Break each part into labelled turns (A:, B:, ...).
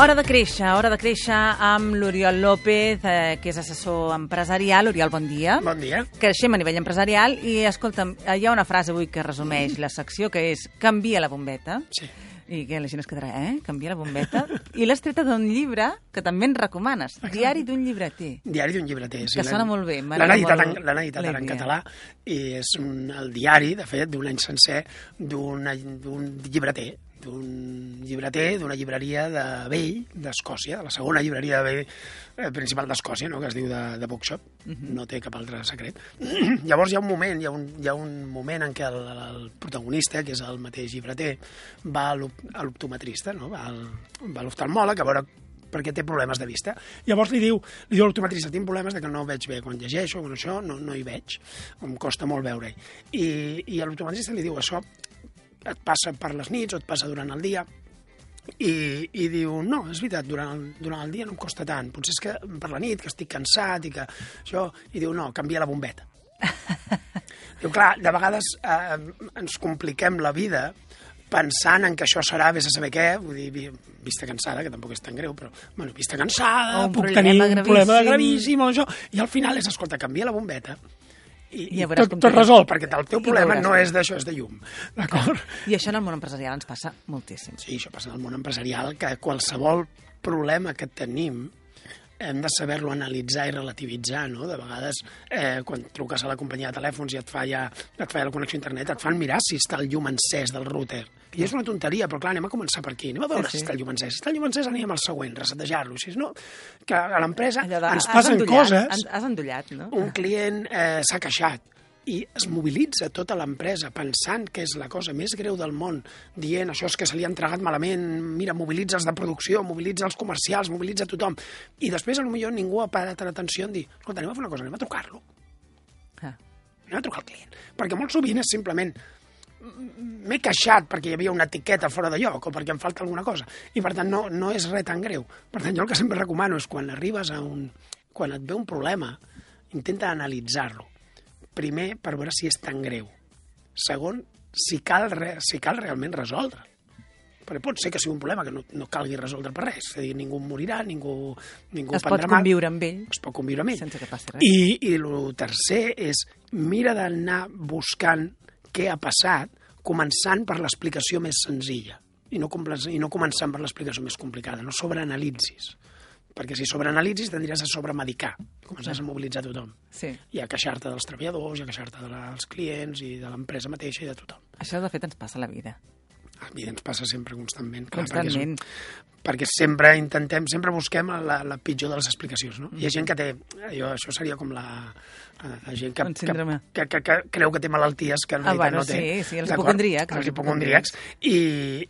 A: Hora de créixer, hora de créixer amb l'Oriol López, eh, que és assessor empresarial. Oriol, bon dia.
B: Bon dia.
A: Creixem a nivell empresarial i, escolta'm, eh, hi ha una frase avui que resumeix la secció, que és canvia la bombeta.
B: Sí.
A: I que la gent es quedarà, eh? Canvia la bombeta. I l'has treta d'un llibre que també ens recomanes, Diari d'un llibreter.
B: Diari d'un llibreter.
A: Que
B: l'han-
A: sona molt bé,
B: L'han
A: m'agrada
B: editat,
A: molt
B: en- l'han editat
A: la
B: ara en
A: idea.
B: català i és un, el diari, de fet, d'un any sencer d'un d'un llibreter d'un llibreter d'una llibreria de vell d'Escòcia, la segona llibreria de vell eh, principal d'Escòcia, no? que es diu de, de Bookshop,
A: Mhm.
B: no té cap altre secret. Llavors hi ha un moment, hi ha un, hi ha un moment en què el, el protagonista, que és el mateix llibreter, va a l'op- a l'optometrista, no? va al- va a l'oftalmòleg a veure perquè té problemes de vista. Llavors li diu, li diu a l'optometrista, tinc problemes de que no veig bé quan llegeixo, quan això, no, no hi veig, em costa molt veure-hi. I, i a l'optometrista li diu, això et passa per les nits o et passa durant el dia, i, i diu, no, és veritat, durant el, durant el dia no em costa tant, potser és que per la nit, que estic cansat i que això... I diu, no, canvia la bombeta. diu, clar, de vegades eh, ens compliquem la vida pensant en que això serà vés a saber què, vull dir, vi- vista cansada, que tampoc és tan greu, però, bueno, vista cansada,
A: O Oh, un
B: puc
A: problema
B: tenir un
A: gravíssim.
B: problema gravíssim, o això, i al final és, escolta, canvia la bombeta, i,
A: Ja
B: i
A: veuràs
B: tot,
A: com
B: tot
A: tens-
B: resol, perquè el teu
A: i
B: problema
A: veuràs
B: no
A: com-
B: és d'això, és de llum, d'acord?
A: I això en el món empresarial ens passa moltíssim.
B: Sí, això passa en el món empresarial, que qualsevol problema que tenim hem de saber-lo analitzar i relativitzar, no? De vegades, eh, quan truques a la companyia de telèfons i et falla, et falla la connexió a internet, et fan mirar si està el llum encès del router. I és una tonteria, però clar, anem a començar per aquí. Anem a veure
A: Sí, sí.
B: si està el llum encès. Si està el llum encès, anem al següent, resetejar-lo. Si no, que a l'empresa
A: Allò de,
B: ens
A: has
B: passen
A: endollat,
B: coses
A: en- Has endollat, no?
B: un client eh, s'ha queixat i es mobilitza tota l'empresa pensant que és la cosa més greu del món, dient això és que se li ha entregat malament, mira, mobilitza els de producció, mobilitza els comercials, mobilitza tothom. I després, a lo millor ningú ha parat l'atenció en dir, escolta, anem a fer una cosa, anem a trucar-lo,
A: Ah.
B: anem a trucar al client. Perquè molt sovint és simplement m'he queixat perquè hi havia una etiqueta fora de lloc o perquè em falta alguna cosa. I per tant no, no és res tan greu. Per tant jo el que sempre recomano és quan arribes a un... quan et ve un problema, intenta analitzar-lo. Primer, per veure si és tan greu. Segon, si cal, re, si cal realment resoldre. Perquè pot ser que sigui un problema que no, no calgui resoldre per res. És a dir, ningú morirà, ningú, ningú
A: Es pot
B: prendrà mal
A: conviure amb ell
B: es pot conviure amb ell.
A: sense que passi res.
B: I, i el tercer és mira d'anar buscant què ha passat començant per l'explicació més senzilla i no, comples- i no començant per l'explicació més complicada. No sobreanalitzis, perquè si sobreanalitzis tindries a sobremedicar. Començaràs a mobilitzar tothom
A: Sí.
B: i a queixar-te dels treballadors, i a queixar-te dels clients i de l'empresa mateixa i de tothom.
A: Això, de fet, ens passa a la vida.
B: A mi ens passa sempre constantment. Clar, perquè és un-
A: Constantment.
B: perquè sempre intentem, sempre busquem la, la pitjor de les explicacions, no? Hi ha gent que té, jo, això seria com la, eh, la gent que,
A: Un
B: que,
A: síndrome.
B: que, que, que, creu que té malalties que en
A: Ah,
B: realitat
A: bueno,
B: no té.
A: sí, sí, els
B: D'acord?
A: hipocondríacs, els
B: Els hipocondríacs. I,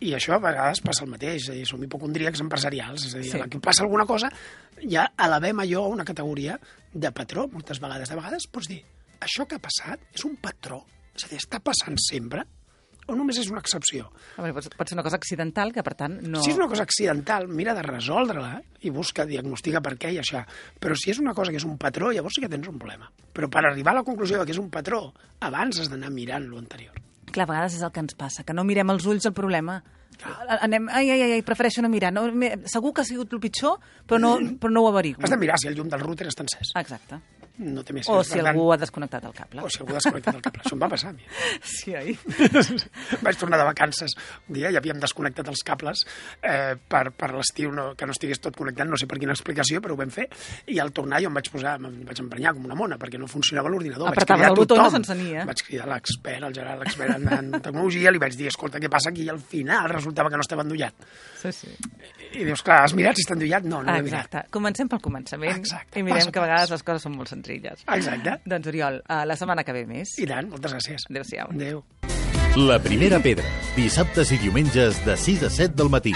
B: I això a vegades passa el mateix, és a dir, som hipocondríacs empresarials, és a dir,
A: Sí.
B: sí. a la que passa alguna cosa ja elevem allò a una categoria de patró, moltes vegades. De vegades pots dir, això que ha passat és un patró, és a dir, està passant sempre o només és una excepció?
A: A veure, pot, pot ser una cosa accidental que, per tant, no...
B: Si és una cosa accidental, mira de resoldre-la eh, i busca, diagnostica per què i això. Però si és una cosa que és un patró, llavors sí que tens un problema. Però per arribar a la conclusió de que és un patró, abans has d'anar mirant lo anterior.
A: Clar, a vegades és el que ens passa, que no mirem els ulls el problema. Anem, ai, ai, ai, ai, prefereixo no mirar. No, me- segur que ha sigut el pitjor, però no,
B: Mm.
A: però no ho averiguo.
B: Has de mirar si el llum del router està encès.
A: Exacte.
B: No té més
A: Ah. O
B: sens.
A: si
B: Per tant,
A: algú ha desconnectat el cable.
B: o si algú ha desconnectat el cable. Això em va passar a mi.
A: Sí, oi?
B: Vaig tornar de vacances un dia i havíem desconnectat els cables eh, per, per l'estiu, no, que no estigués tot connectat, no sé per quina explicació, però ho vam fer. I al tornar jo em vaig posar, em vaig emprenyar com una mona, perquè no funcionava l'ordinador. Vaig
A: Apretava
B: cridar
A: el botó i no
B: tothom.
A: s'encenia.
B: Vaig cridar l'expert, el Gerard, l'expert en, en tecnologia, li vaig dir, escolta, què passa aquí? I al final resultava que no estava endollat.
A: Sí, sí.
B: I dius, clar, has mirat si està endollat? No, no
A: Ah,
B: l'he mirat.
A: exacte. Comencem pel començament
B: Exacte.
A: i mirem
B: Passa,
A: que a vegades
B: passa.
A: les coses són molt senzilles.
B: Exacte.
A: Doncs, Oriol, a la setmana que ve més.
B: I tant, moltes gràcies.
A: Adéu-siau.
B: Adéu.
C: La primera pedra, dissabtes i diumenges de 6 a 7 del matí.